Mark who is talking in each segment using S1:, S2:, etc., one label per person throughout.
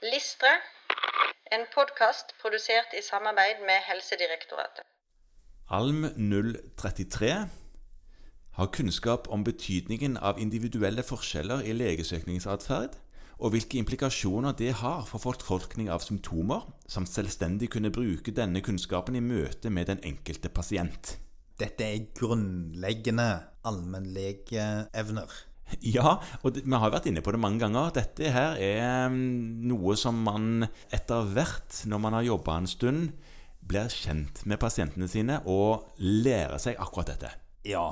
S1: Listre, en podkast produsert i samarbeid med Helsedirektoratet.
S2: Alm 033 har kunnskap om betydningen av individuelle forskjeller i legesøkningsatferd, og hvilke implikasjoner det har for fortolkning av symptomer, samt selvstendig kunne bruke denne kunnskapen i møte med den enkelte pasient.
S3: Dette er grunnleggende allmennlegeevner.
S2: Ja, og det- vi har vært inne på det mange ganger. Dette her er mm, noe som man etter hvert, når man har jobba en stund, blir kjent med pasientene sine og lærer seg akkurat dette.
S3: Ja.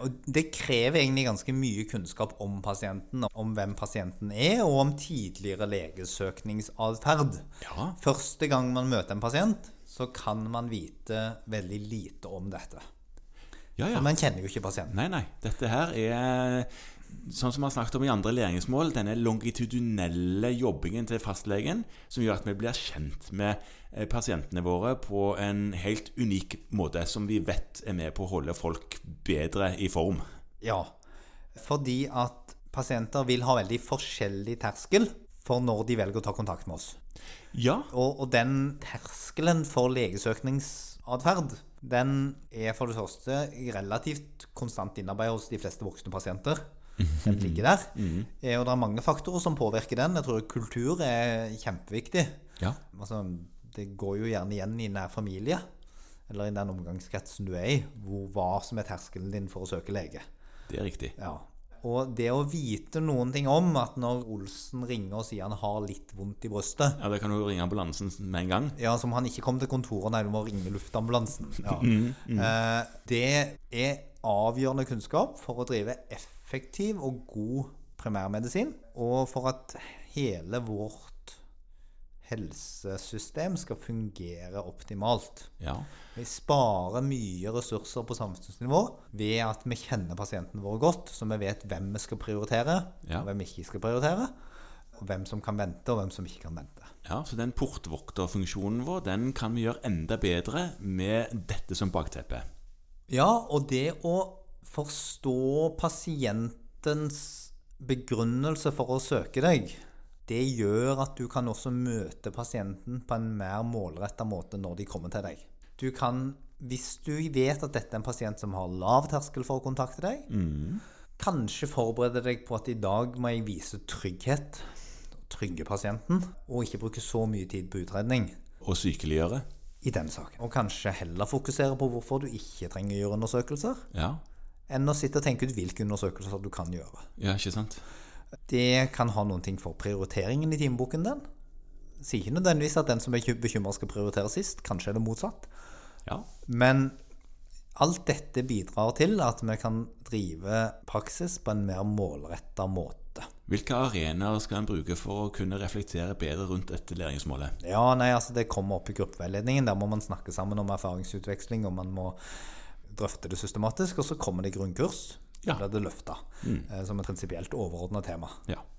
S3: Og det krever egentlig ganske mye kunnskap om pasienten, om hvem pasienten er, og om tidligere legesøkningsatferd.
S2: Ja.
S3: Første gang man møter en pasient, så kan man vite veldig lite om dette.
S2: Ja, ja.
S3: For man kjenner jo ikke pasienten.
S2: Nei, nei. Dette her er sånn som vi har snakket om i andre læringsmål, denne longitudinelle jobbingen til fastlegen som gjør at vi blir kjent med eh, pasientene våre på en helt unik måte, som vi vet er med på å holde folk bedre i form.
S3: Ja. Fordi at pasienter vil ha veldig forskjellig terskel for når de velger å ta kontakt med oss.
S2: Ja,
S3: Og, og den terskelen for legesøkningsatferd, den er for det første relativt konstant innarbeidet hos de fleste voksne pasienter. Den ligger der. Eh, Og det er mange faktorer som påvirker den. Jeg tror kultur er kjempeviktig.
S2: Ja.
S3: Altså, det går jo gjerne igjen i nær familie, eller i den omgangskretsen du er i, hvor, hva som er terskelen din for å søke lege.
S2: det er riktig.
S3: Ja. Og det å vite noen ting om at når Olsen ringer og sier han har litt vondt i brystet,
S2: Ja, Da kan du jo ringe ambulansen med en gang.
S3: ja, som han ikke kom til kontoret Nei, du må ringe luftambulansen ja. Eh, Det er avgjørende kunnskap For å drive effektiv og god primærmedisin Og for at hele vårt helsesystem skal fungere optimalt
S2: Ja.
S3: Vi sparer mye ressurser på samfunnsnivå Ved at vi kjenner pasienten vår godt Så vi vet hvem vi skal prioritere
S2: Ja.
S3: Og hvem vi ikke skal prioritere Og hvem som kan vente og hvem som ikke kan vente
S2: ja, Så den portvokterfunksjonen vår den kan vi gjøre enda bedre med dette som bakteppe.
S3: Ja, og det å forstå pasientens begrunnelse for å søke deg, det gjør at du kan også møte pasienten på en mer målretta måte når de kommer til deg. Du kan, hvis du vet at dette er en pasient som har lav terskel for å kontakte deg, kanskje forberede deg på at i dag må jeg vise trygghet, trygge pasienten, og ikke bruke så mye tid på utredning
S2: Og sykeliggjøre.
S3: i den saken. Og kanskje heller fokusere på hvorfor du ikke trenger å gjøre undersøkelser,
S2: Ja.
S3: enn å sitte og tenke ut hvilke undersøkelser du kan gjøre.
S2: ja, ikke sant?
S3: Det kan ha noen ting for prioriteringen i timeboken din. Sier ikke nødvendigvis at den som er bekymra skal prioritere sist, kanskje er det motsatt.
S2: Ja.
S3: Men alt dette bidrar til at vi kan drive praksis på en mer målretta måte.
S2: Hvilke arenaer skal en bruke for å kunne reflektere bedre rundt dette læringsmålet?
S3: Ja, nei, altså det kommer opp i gruppeveiledningen. Der må man snakke sammen om erfaringsutveksling, og man må drøfte det systematisk. Og så kommer det eh, grunnkurs.
S2: Ja.
S3: Da blir det løfta som et prinsipielt overordna tema.
S2: Ja.